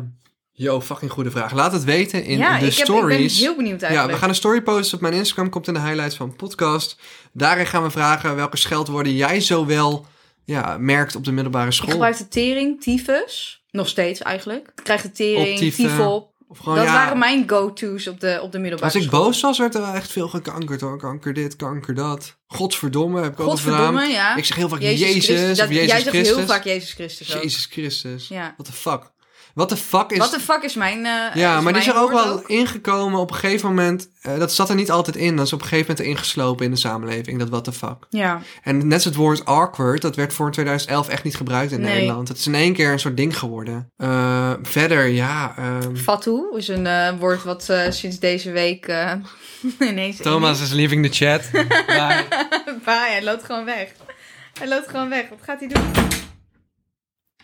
A: Yo, fucking goede vraag. Laat het weten in
B: ja,
A: de
B: ik, heb, ik ben
A: stories.
B: heel benieuwd eigenlijk.
A: Ja, we gaan een story posten op mijn Instagram. Komt in de highlights van podcast. Daarin gaan we vragen welke scheldwoorden jij zo wel ja, merkt op de middelbare
B: Ik
A: school.
B: gebruikte tering, tyfus. Nog steeds eigenlijk. Ik krijg de tering,
A: Optief, eh,
B: tyfel.
A: Of gewoon,
B: Dat
A: ja,
B: waren mijn go-to's op de, op de middelbare
A: Als ik
B: school.
A: boos was, werd er wel echt veel gekankerd hoor. Kanker dit, kanker dat. Godverdomme, heb ik ook gedaan.
B: Godverdomme, ja.
A: Ik zeg heel vaak
B: Jezus
A: Jezus,
B: Christus.
A: of
B: Dat-
A: Jezus
B: jij zegt
A: Christus.
B: heel vaak Jezus Christus ook.
A: Jezus Christus.
B: Ja.
A: What the fuck. Wat de fuck is...
B: Wat de fuck is mijn. eh,
A: ja,
B: is
A: maar die is
B: mijn
A: er ook
B: woord
A: wel ingekomen op een gegeven moment. eh, dat zat er niet altijd in. Dat is op een gegeven moment ingeslopen in de samenleving, dat what the fuck.
B: Ja.
A: En net als het woord awkward, dat werd voor 2011 echt niet gebruikt in
B: Nee.
A: Nederland. Het is in één keer een soort ding geworden. Eh, verder, ja... ehm,
B: Fatu is een eh, woord wat eh, sinds deze week eh, ineens.
A: Thomas is leaving the chat. Bye.
B: Bye, hij loopt gewoon weg. Hij loopt gewoon weg. Wat gaat hij doen?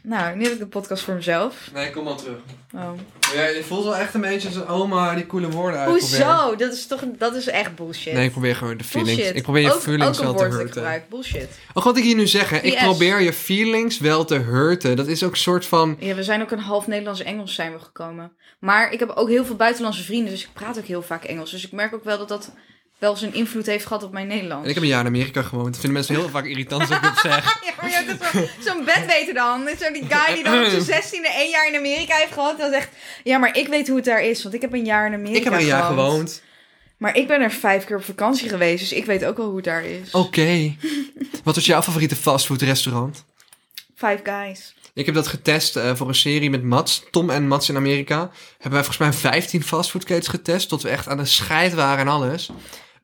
B: Nou, nu heb ik de podcast voor mezelf.
A: Nee, kom maar terug.
B: Oh.
A: Maar ja, je voelt wel echt een beetje als een oma die coole woorden uitprobeert.
B: Hoezo? Dat is toch dat is echt bullshit.
A: Nee, ik probeer gewoon de feelings.
B: Bullshit.
A: Ik probeer je
B: ook,
A: feelings
B: ook
A: wel
B: een
A: te
B: woord dat ik
A: hurten.
B: gebruik. Bullshit.
A: Ook wat ik hier nu zeg, hè, ik
B: Yes.
A: probeer je feelings wel te hurten. Dat is ook een soort van...
B: Ja, we zijn ook een half Nederlands-Engels zijn we gekomen. Maar ik heb ook heel veel buitenlandse vrienden, dus ik praat ook heel vaak Engels. Dus ik merk ook wel dat dat wel zijn invloed heeft gehad op mijn Nederlands.
A: En ik heb een jaar in Amerika gewoond. Dat vinden mensen heel vaak irritant als ik dat zeg.
B: Ja, maar je hebt ook zo- zo'n bedweter dan. Dit is Zo die guy die dan op zijn zestiende één jaar in Amerika heeft gehad. Dat is echt, ja, maar ik weet hoe het daar is, want ik heb een jaar in Amerika
A: Ik heb er een jaar gewoond.
B: Maar ik ben er vijf keer op vakantie geweest, dus ik weet ook wel hoe het daar is.
A: Oké. Wat was jouw favoriete fastfoodrestaurant?
B: Five guys.
A: Ik heb dat getest eh, voor een serie met Mats. Tom en Mats in Amerika. Hebben wij volgens mij 15 fastfoodketens getest. Tot we echt aan de scheid waren en alles.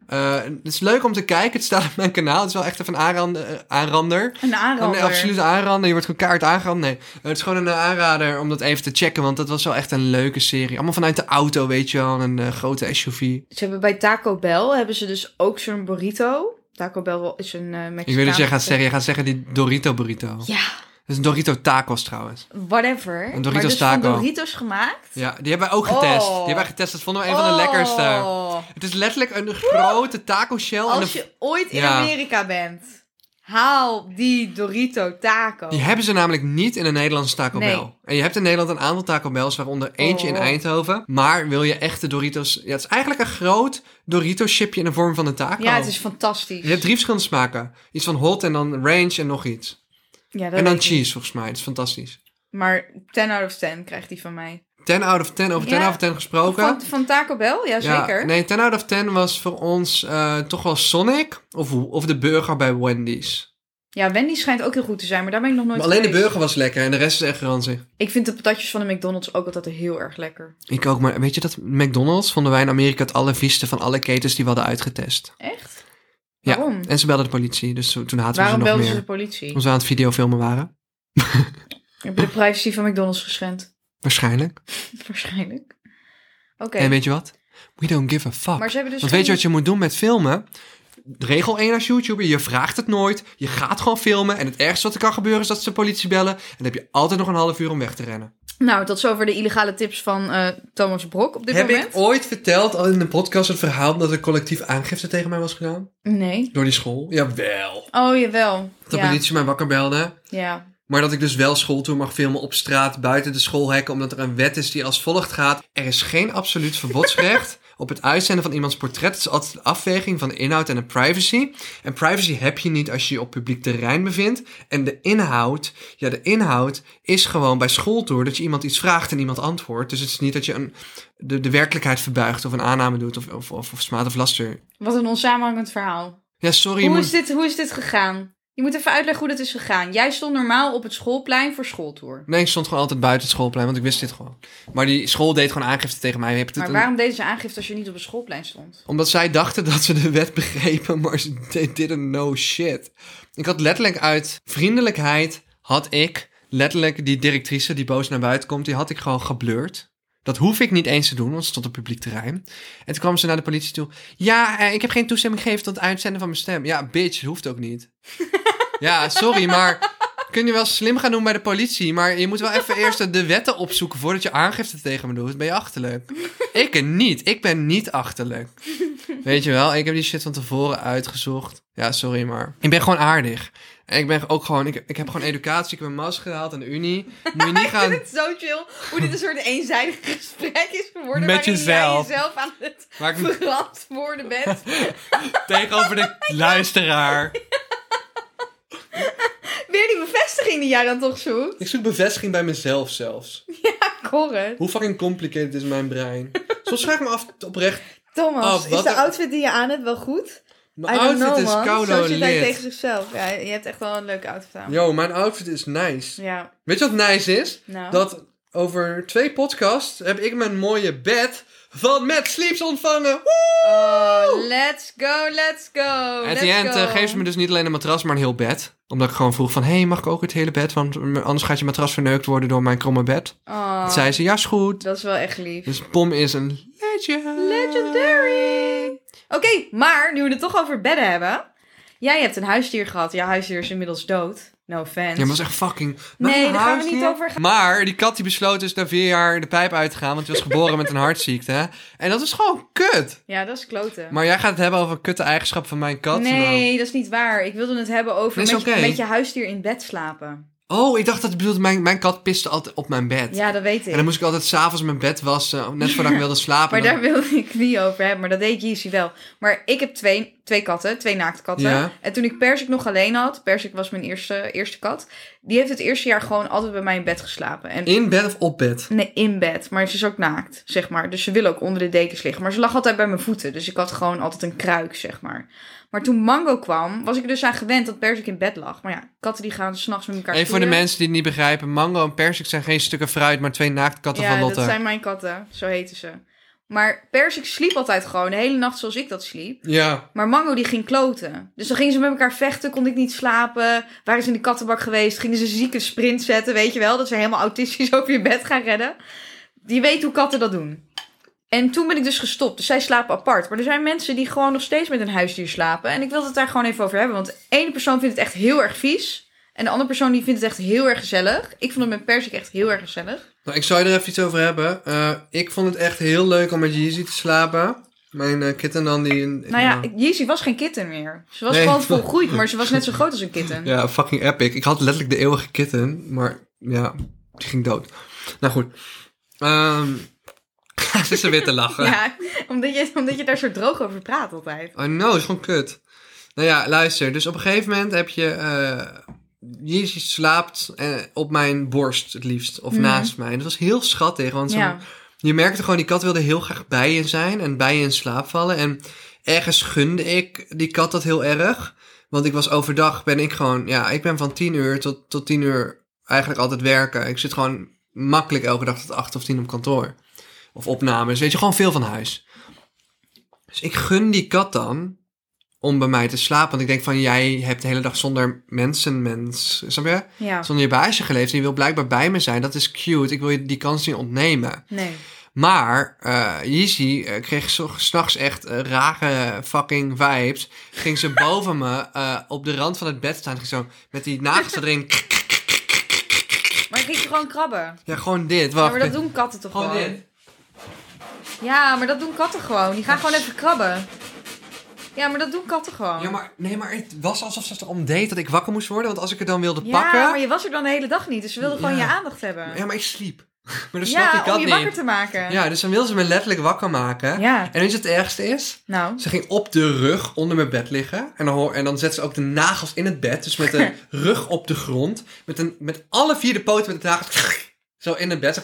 A: Eh, het is leuk om te kijken. Het staat op mijn kanaal. Het is wel echt even een aanrander. eh, aanrander.
B: Een
A: Een
B: aanrander.
A: absolute aanrader. Je wordt gewoon kaart aangerand. Nee, Eh, het is gewoon een aanrader om dat even te checken. Want dat was wel echt een leuke serie. Allemaal vanuit de auto, weet je wel. Een eh, grote SUV.
B: Ze hebben bij Taco Bell hebben ze dus ook zo'n burrito. Taco Bell is een eh Mexicaanse-
A: Ik wil dat jij gaat zeggen. Je gaat zeggen die Dorito burrito.
B: Ja,
A: Dat is een Dorito tacos trouwens.
B: whatever.
A: Een Doritos
B: maar dus
A: taco.
B: van Doritos gemaakt.
A: Ja, die hebben wij ook getest.
B: Oh.
A: Die hebben wij getest. Dat vonden we een van de lekkerste.
B: Oh.
A: Het is letterlijk een grote taco shell. en
B: Als
A: een-
B: je ooit in
A: Ja.
B: Amerika bent, haal die Dorito taco.
A: Die hebben ze namelijk niet in een Nederlandse Taco
B: Nee.
A: Bell. En je hebt in Nederland een aantal Taco Bells, waaronder eentje in
B: Oh.
A: Eindhoven. Maar wil je echte Doritos... Ja, het is eigenlijk een groot Dorito-chipje in de vorm van een taco.
B: ja, het is fantastisch.
A: Je hebt drie verschillende smaken. Iets van hot en dan range en nog iets.
B: Ja, dat
A: en
B: weet
A: dan
B: ik
A: cheese,
B: niet.
A: volgens mij. Dat is fantastisch.
B: Maar 10 out of 10 krijgt die van mij.
A: 10 out of 10, over 10
B: Ja.
A: out of 10 gesproken.
B: Van, van Taco Bell? Ja,
A: Ja,
B: zeker.
A: nee, 10 out of 10 was voor ons eh, toch wel Sonic of, of de burger bij Wendy's.
B: Ja, Wendy schijnt ook heel goed te zijn, maar daar ben ik nog nooit
A: Maar alleen de
B: geweest.
A: burger was lekker en de rest is echt ranzig.
B: Ik vind de patatjes van de McDonald's ook altijd heel erg lekker.
A: Ik ook, maar weet je dat McDonald's vonden wij in Amerika het allervieste van alle ketens die we hadden uitgetest.
B: Echt?
A: Ja.
B: Waarom?
A: En ze belden de politie, dus zo- toen haten we ze
B: Waarom
A: nog
B: belden ze de
A: meer.
B: politie?
A: Omdat we aan het videofilmen waren.
B: Heb je de privacy van McDonald's geschend?
A: Waarschijnlijk.
B: Waarschijnlijk. Oké.
A: En weet je wat? We don't give a fuck.
B: Maar ze hebben dus
A: Want weet je
B: geen-
A: wat je moet doen met filmen? Regel 1 als YouTuber, je vraagt het nooit. Je gaat gewoon filmen. En het ergste wat er kan gebeuren is dat ze de politie bellen. En dan heb je altijd nog een half uur om weg te rennen.
B: Nou, tot zover de illegale tips van eh, Thomas Brok op dit
A: Heb
B: moment.
A: ik ooit verteld al in de podcast het verhaal dat er collectief aangifte tegen mij was gedaan?
B: Nee.
A: Door die school? Jawel.
B: Oh, jawel.
A: Dat de
B: ja.
A: politie mij wakker belde.
B: ja.
A: Maar dat ik dus wel schooltour mag filmen op straat, buiten de schoolhekken, omdat er een wet is die als volgt gaat. Er is geen absoluut verbodsrecht op het uitzenden van iemands portret. Het is altijd een afweging van de inhoud en de privacy. En privacy heb je niet als je je op publiek terrein bevindt. En de inhoud, ja, de inhoud is gewoon bij schooltour dat je iemand iets vraagt en iemand antwoordt. Dus het is niet dat je een, de, de werkelijkheid verbuigt of een aanname doet of, of, of, of smaad of laster.
B: Wat een onsamenhangend verhaal.
A: Ja, sorry.
B: Hoe
A: moet-
B: is, dit, hoe is dit gegaan? Je moet even uitleggen hoe dit is gegaan. Jij stond normaal op het schoolplein voor schooltour.
A: Nee, ik stond gewoon altijd buiten het schoolplein, want ik wist dit gewoon. Maar die school deed gewoon aangifte tegen mij. Je hebt het
B: Maar
A: een-
B: waarom deden ze aangifte als je niet op het schoolplein stond?
A: Omdat zij dachten dat ze de wet begrepen, maar ze they didn't know shit. Ik had letterlijk uit vriendelijkheid, had ik letterlijk die directrice die boos naar buiten komt, die had ik gewoon geblurred. Dat hoef ik niet eens te doen, want ze stond op publiek terrein. En toen kwam ze naar de politie toe. Ja, eh, ik heb geen toestemming gegeven tot het uitzenden van mijn stem. Ja, bitch, hoeft ook niet. ja, sorry, maar kun je wel slim gaan doen bij de politie. Maar je moet wel even eerst de wetten opzoeken voordat je aangifte tegen me doet. Ben je achterlijk? Ik niet. Ik ben niet achterlijk. Weet je wel, ik heb die shit van tevoren uitgezocht. Ja, sorry, maar ik ben gewoon aardig. En ik ben ook gewoon, ik, ik heb gewoon educatie. Ik heb een mas gehaald aan de Unie. Moet je niet gaan.
B: Het is zo chill hoe dit een soort eenzijdig gesprek is geworden.
A: Met
B: waarin
A: jezelf.
B: jij jezelf aan het
A: Waar ik
B: verantwoorden bent.
A: tegenover de luisteraar.
B: Weer die bevestiging die jij dan toch zoekt.
A: Ik zoek bevestiging bij mezelf zelfs.
B: Corre.
A: Hoe fucking complicated is mijn brein? Soms vraag ik me af oprecht.
B: Thomas,
A: Oh, wat
B: is de
A: een-
B: outfit die je aan hebt wel goed?
A: Mijn
B: I don't
A: outfit
B: know,
A: is
B: man.
A: koud
B: Zo
A: en
B: zit hij
A: lid.
B: tegen zichzelf. Ja, je hebt echt wel een leuke outfit aan.
A: Yo, mijn outfit is nice.
B: Ja,
A: Weet je wat nice is?
B: nou.
A: Dat over twee podcasts heb ik mijn mooie bed van Matt Sleeps ontvangen. Woe!
B: Oh, let's go, let's go.
A: At
B: Oh, let's
A: the end
B: go.
A: eh, geven ze me dus niet alleen een matras, maar een heel bed. Omdat ik gewoon vroeg van, hé, hey, mag ik ook het hele bed? Want eh, anders gaat je matras verneukt worden door mijn kromme bed.
B: Oh,
A: Toen zei ze, ja, is goed.
B: Dat is wel echt lief.
A: Dus Pom is een legend.
B: Legendary! Oké, maar nu we het toch over bedden hebben. Jij hebt een huisdier gehad. Jouw huisdier is inmiddels dood. No offense.
A: Ja, maar dat is echt fucking...
B: Nee,
A: Mijn
B: daar gaan we
A: huisdier.
B: niet over gaan.
A: Maar die kat die besloot dus na vier jaar de pijp uit te gaan, want die was geboren met een hartziekte. hè. En dat is gewoon kut.
B: Ja, dat is kloten.
A: Maar jij gaat het hebben over kutte eigenschappen van mijn kat.
B: nee, dat is niet waar. Ik wilde het hebben over
A: Is
B: met,
A: oké.
B: je, met je huisdier in bed slapen.
A: Oh, ik dacht dat het bedoelde, mijn, mijn kat piste altijd op mijn bed.
B: Ja, dat weet ik.
A: En dan moest ik altijd s'avonds mijn bed wassen, net voordat ik wilde slapen.
B: Maar
A: Dan-
B: daar wilde ik niet over hebben. Maar dat deed Yeezy wel. Maar ik heb twee, twee katten, twee naaktkatten.
A: Ja.
B: En toen ik Persik nog alleen had, Persik was mijn eerste, eerste kat. Die heeft het eerste jaar gewoon altijd bij mij in bed geslapen. En
A: In bed of op bed?
B: Nee, in bed. Maar ze is ook naakt, zeg maar. Dus ze wil ook onder de dekens liggen. Maar ze lag altijd bij mijn voeten. Dus ik had gewoon altijd een kruik, zeg maar. Maar toen Mango kwam, was ik er dus aan gewend dat Persik in bed lag. Maar ja, katten die gaan s'nachts met elkaar
A: Even voor de
B: stoeien.
A: mensen die het niet begrijpen. Mango en persik zijn geen stukken fruit, maar twee naaktkatten van
B: Ja,
A: Lotte.
B: dat zijn mijn katten. Zo heten ze. Maar Persik sliep altijd gewoon de hele nacht zoals ik dat sliep.
A: Ja.
B: Maar Mango die ging kloten. Dus dan gingen ze met elkaar vechten, kon ik niet slapen. Waren ze in de kattenbak geweest, gingen ze zieke sprint zetten, weet je wel. Dat ze helemaal autistisch over je bed gaan redden. Die weet hoe katten dat doen. En toen ben ik dus gestopt. Dus zij slapen apart. Maar er zijn mensen die gewoon nog steeds met een huisdier slapen. En ik wil het daar gewoon even over hebben. Want de ene persoon vindt het echt heel erg vies. En de andere persoon die vindt het echt heel erg gezellig. Ik vond het met Persik echt heel erg gezellig.
A: Nou, ik zou je er even iets over hebben. Eh, ik vond het echt heel leuk om met Yeezy te slapen. Mijn eh, kitten dan die... een-
B: Nou ja, Yeezy was geen kitten meer. Ze was
A: Nee.
B: gewoon volgroeid, maar ze was net zo groot als een kitten.
A: Ja, fucking epic. Ik had letterlijk de eeuwige kitten, maar ja, die ging dood. Nou goed. Ehm ze is er weer te lachen.
B: Ja, omdat je, omdat je daar zo droog over praat altijd.
A: Oh no, is gewoon kut. Nou ja, luister. Dus op een gegeven moment heb je... eh Yeezy slaapt eh, op mijn borst het liefst. Of
B: Mhm.
A: naast mij. En dat was heel schattig. Want zo'n
B: Ja,
A: Je merkte gewoon, die kat wilde heel graag bij je zijn en bij je in slaap vallen. En ergens gunde ik die kat dat heel erg. Want ik was overdag, ben ik gewoon, ja, ik ben van 10 uur tot, tot 10 uur eigenlijk altijd werken. Ik zit gewoon makkelijk elke dag tot 8 of 10 op kantoor. Of opnames, weet je, gewoon veel van huis. Dus ik gun die kat dan om bij mij te slapen. Want ik denk van, jij hebt de hele dag zonder mensen, mens, snap je?
B: ja.
A: Zonder je baasje geleefd en je wil blijkbaar bij me zijn. Dat is cute, ik wil je die kans niet ontnemen.
B: Nee.
A: Maar eh Yeezy eh, kreeg zo- s'nachts echt eh, rare fucking vibes. Ging ze boven me eh, op de rand van het bed staan. Ging zo met die nagels erin.
B: Maar ik ging gewoon krabben.
A: Ja, gewoon dit.
B: Ja,
A: Wacht.
B: maar dat doen katten toch
A: Oh. Gewoon
B: gewoon?
A: dit.
B: Ja, maar dat doen katten gewoon. Die gaan gewoon even krabben. Ja, maar dat doen katten gewoon.
A: Ja, maar, nee, maar het was alsof ze erom deed dat ik wakker moest worden. Want als ik het dan wilde
B: Ja,
A: pakken...
B: maar je was er dan de hele dag niet. Dus ze wilden gewoon
A: Ja.
B: je aandacht hebben.
A: Ja, maar ik sliep. Maar dat
B: Ja,
A: snap ik
B: om
A: dat
B: je wakker
A: niet.
B: te maken.
A: Ja, dus dan wilde ze me letterlijk wakker maken.
B: Ja.
A: En weet je wat het ergste is?
B: Nou,
A: Ze ging op de rug onder mijn bed liggen. En dan, hoor, en dan zet ze ook de nagels in het bed. Dus met de rug op de grond. Met, een, met alle vier de poten met de nagels. Zo in het bed. Zo.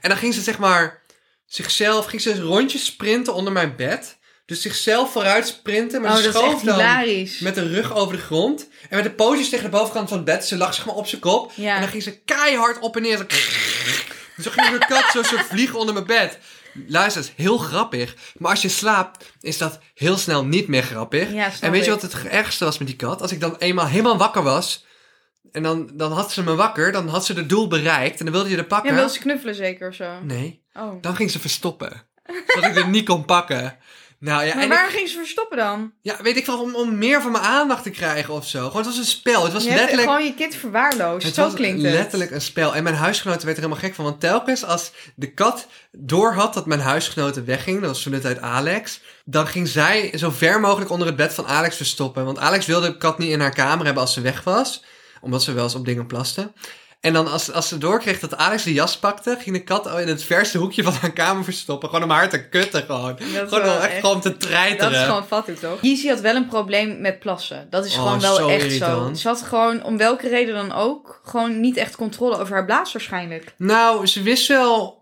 A: En dan ging ze zeg maar zichzelf, ging ze rondjes sprinten onder mijn bed. Dus zichzelf vooruit sprinten. Maar
B: oh,
A: ze
B: dat is echt
A: schoof dan
B: hilarisch.
A: met de rug over de grond. En met de pootjes tegen de bovenkant van het bed. Ze lag zeg maar op zijn kop.
B: Ja.
A: En dan ging ze keihard op en neer. Zo, dus zo ging zo'n kat zo'n soort vlieg onder mijn bed. Luister, dat is heel grappig. Maar als je slaapt, is dat heel snel niet meer grappig.
B: Ja, snap
A: en weet je
B: ik.
A: wat het ergste was met die kat? Als ik dan eenmaal helemaal wakker was... En dan, dan had ze me wakker, dan had ze het doel bereikt. En dan wilde je er pakken.
B: Ja, wil ze knuffelen zeker of zo?
A: Nee,
B: Oh.
A: dan ging ze verstoppen. Zodat ik er niet kon pakken. Nou ja,
B: maar
A: en
B: waar
A: ik-
B: ging ze verstoppen dan?
A: ja, weet ik veel, om, om meer van mijn aandacht te krijgen of zo. Gewoon, het was een spel. Het was
B: Je hebt
A: letterlijk...
B: gewoon je kind verwaarloosd.
A: Het
B: zo
A: was
B: klinkt het.
A: letterlijk een spel. En mijn huisgenoten werden er helemaal gek van. Want telkens als de kat doorhad dat mijn huisgenoten wegging, dat was toen de tijd Alex, dan ging zij zo ver mogelijk onder het bed van Alex verstoppen. Want Alex wilde de kat niet in haar kamer hebben als ze weg was, omdat ze wel eens op dingen plaste. En dan als, als ze doorkreeg dat Alex de jas pakte, ging de kat al in het verste hoekje van haar kamer verstoppen. Gewoon om haar te kutten gewoon. gewoon
B: wel
A: om echt
B: echt-
A: gewoon te treiteren.
B: Dat is gewoon fatsoen, toch? Yeezy had wel een probleem met plassen. Dat is
A: Oh,
B: gewoon wel
A: zo
B: echt
A: irritant.
B: zo. Ze had gewoon, om welke reden dan ook, gewoon niet echt controle over haar blaas waarschijnlijk.
A: Nou, ze wist wel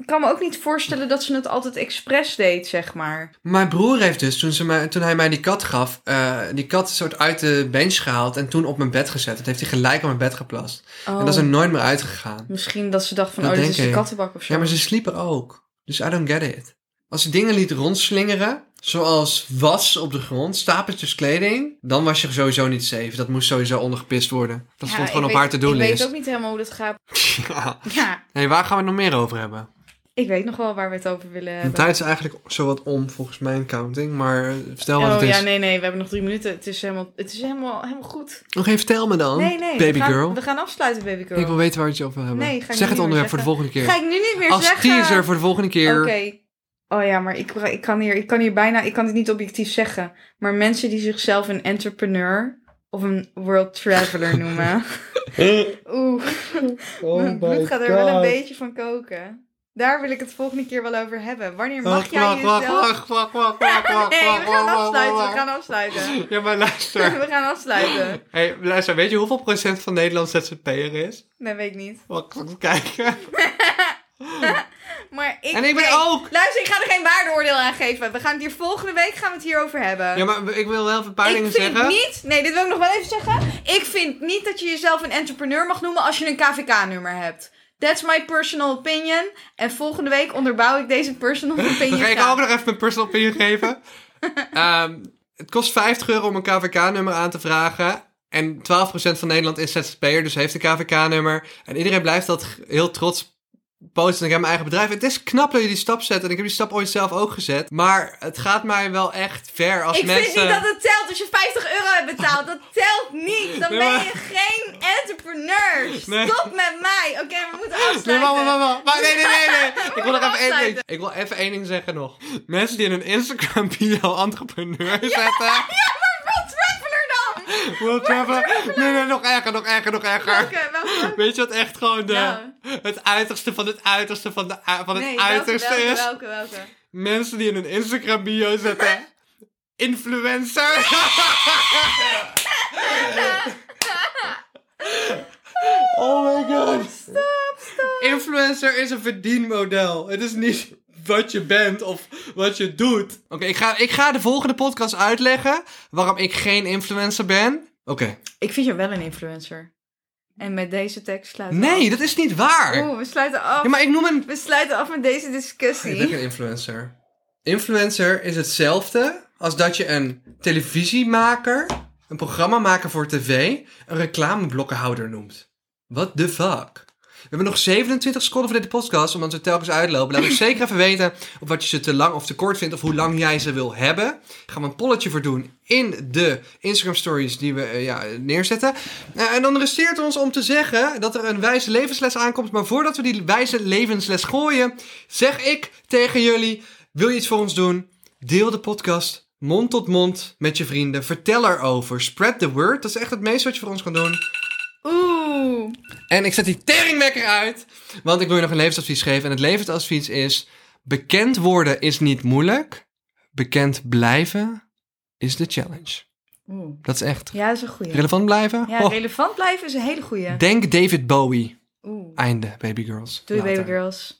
B: ik kan me ook niet voorstellen dat ze het altijd expres deed, zeg maar.
A: Mijn broer heeft dus, toen, ze mij, toen hij mij die kat gaf, eh, die kat soort uit de bench gehaald en toen op mijn bed gezet. Dat heeft hij gelijk op mijn bed geplast. En
B: Oh.
A: dat is er nooit meer uitgegaan.
B: Misschien dat ze dacht van,
A: Dat
B: oh, dit
A: denk
B: is de
A: ik.
B: kattenbak of zo.
A: Ja, maar ze sliep er ook. Dus I don't get it. Als ze dingen liet rondslingeren, zoals was op de grond, stapeltjes kleding, dan was je sowieso niet safe. Dat moest sowieso ondergepist worden. Dat
B: Ja,
A: stond
B: ik
A: gewoon op
B: weet-
A: haar to-do
B: Ik weet
A: list.
B: ook niet helemaal hoe dat gaat.
A: Ja.
B: Ja,
A: Hey, waar gaan we het nog meer over hebben?
B: ik weet nog wel waar we het over willen
A: De
B: hebben.
A: tijd is eigenlijk zowat om volgens mijn counting, maar eh, vertel wat
B: oh
A: het is.
B: ja, nee, nee, we hebben nog drie minuten. Het is helemaal, het is helemaal, helemaal goed.
A: Nog even vertel me dan,
B: nee, nee,
A: Oh, baby
B: we gaan,
A: girl.
B: We gaan afsluiten, baby girl.
A: Ik wil weten waar we het over hebben.
B: Nee, ga ik nu
A: zeg
B: niet
A: het
B: meer
A: onderwerp voor de
B: zeggen.
A: volgende keer.
B: Ga ik nu niet meer
A: Als
B: zeggen.
A: teaser voor de volgende keer.
B: Oké. Oh ja, maar ik, ik, kan hier, ik kan hier bijna, ik kan het niet objectief zeggen. Maar mensen die zichzelf een entrepreneur of een world traveler noemen. Oeh,
A: Oh
B: mijn bloed gaat er wel een beetje van koken. Daar wil ik het volgende keer wel over hebben. Wanneer mag jij
A: Oh, wacht, wacht,
B: jezelf...
A: wacht, wacht, wacht, wacht, wacht,
B: Nee, we
A: wacht, wacht,
B: gaan
A: wacht,
B: afsluiten, we
A: wacht.
B: gaan afsluiten.
A: Ja, maar luister.
B: We gaan afsluiten.
A: hey, luister, weet je hoeveel procent van Nederland ZZP'er is?
B: Nee, weet ik niet.
A: Wacht, ik moet kijken.
B: Maar ik,
A: En ik ben
B: nee.
A: ook-
B: Luister, ik ga er geen waardeoordeel aan geven. We gaan het hier volgende week gaan we het hierover hebben.
A: Ja, maar ik wil wel even een paar dingen
B: ik vind
A: zeggen.
B: niet, nee, dit wil ik nog wel even zeggen. Ik vind niet dat je jezelf een entrepreneur mag noemen als je een KVK-nummer hebt. That's my personal opinion. En volgende week onderbouw ik deze personal opinion.
A: Dan ga ik
B: graag.
A: ook nog even mijn personal opinion geven. Ehm, het kost 50 euro om een KVK-nummer aan te vragen. En 12% van Nederland is ZZP'er, dus heeft een KVK-nummer. En iedereen blijft dat g- heel trots posten. Ik heb mijn eigen bedrijf. Het is knap dat je die stap zet. En ik heb die stap ooit zelf ook gezet. Maar het gaat mij wel echt ver als
B: Ik
A: mensen...
B: vind niet dat het telt als je 50 euro hebt betaald. Dat telt niet. Dan
A: Nee,
B: ben
A: maar-
B: je geen entrepreneur.
A: Nee.
B: Stop met mij. Oké, we moeten
A: Nee,
B: afsluiten.
A: wacht, wacht, wacht, wacht. Maar nee, nee, nee, nee. Ik wil nog even één ding.
B: Afsluiten.
A: Ik wil even één ding zeggen nog. Mensen die in hun Instagram bio entrepreneur zetten.
B: Ja, maar wat traveler dan?
A: World traveler. Nee, nee, nog erger, nog erger, nog erger.
B: Oké, welke?
A: Weet je wat echt gewoon de,
B: Nou.
A: het uiterste van het uiterste van, de, u- van het
B: Nee,
A: uiterste
B: welke,
A: is?
B: Welke, welke? welke?
A: Mensen die in hun Instagram bio zetten. Influencer. oh my god.
B: Stop, stop.
A: Influencer is een verdienmodel. Het is niet wat je bent of wat je doet. Oké, ik, ga, ik ga de volgende podcast uitleggen waarom ik geen influencer ben. Oké.
B: Ik vind je wel een influencer. En met deze tekst sluiten we
A: Nee, dat is niet waar.
B: Oeh, we sluiten af.
A: Ja, maar ik noem een
B: We sluiten af met deze discussie.
A: Ik ben geen influencer. Influencer is hetzelfde als dat je een televisiemaker, een programmamaker voor tv, een reclameblokkenhouder noemt. What the fuck? We hebben nog 27 seconden voor deze podcast, omdat we telkens uitlopen. Laat ons zeker even weten of wat je ze te lang of te kort vindt, of hoe lang jij ze wil hebben. Daar gaan we een polletje voor doen in de Instagram stories die we eh, ja, neerzetten. Eh, en dan resteert ons om te zeggen dat er een wijze levensles aankomt. Maar voordat we die wijze levensles gooien, zeg ik tegen jullie: wil je iets voor ons doen? Deel de podcast mond tot mond met je vrienden. Vertel erover. Spread the word. Dat is echt het meeste wat je voor ons kan doen.
B: Oeh.
A: En ik zet die teringwekker uit, want ik wil je nog een levensadvies geven. En het levensadvies is: bekend worden is niet moeilijk. Bekend blijven is de challenge.
B: Oeh.
A: Dat is echt.
B: Ja, dat is een goeie.
A: Relevant blijven?
B: Ja,
A: Oh,
B: relevant blijven is een hele goeie.
A: Denk David Bowie.
B: Oeh.
A: Einde, baby girls.
B: Doei,
A: Later.
B: baby girls.